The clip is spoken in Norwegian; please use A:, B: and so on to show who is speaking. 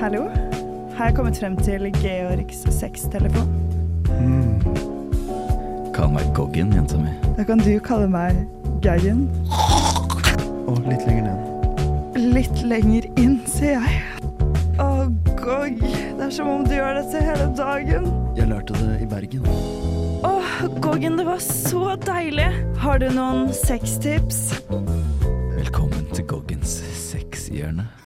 A: hallo. Har jeg kommet frem til Georgs sextelefon?
B: Kall meg Goggen, jenta mi.
A: Da kan du kalle meg Gaggen.
C: Og litt lenger ned.
A: Litt lenger inn, sier jeg. Å, Gogg, det er som om du gjør dette hele dagen.
C: Jeg lærte det i Bergen.
A: Å, Goggen, det var så deilig. Har du noen sextips?
B: Velkommen til Goggens sexhjørne.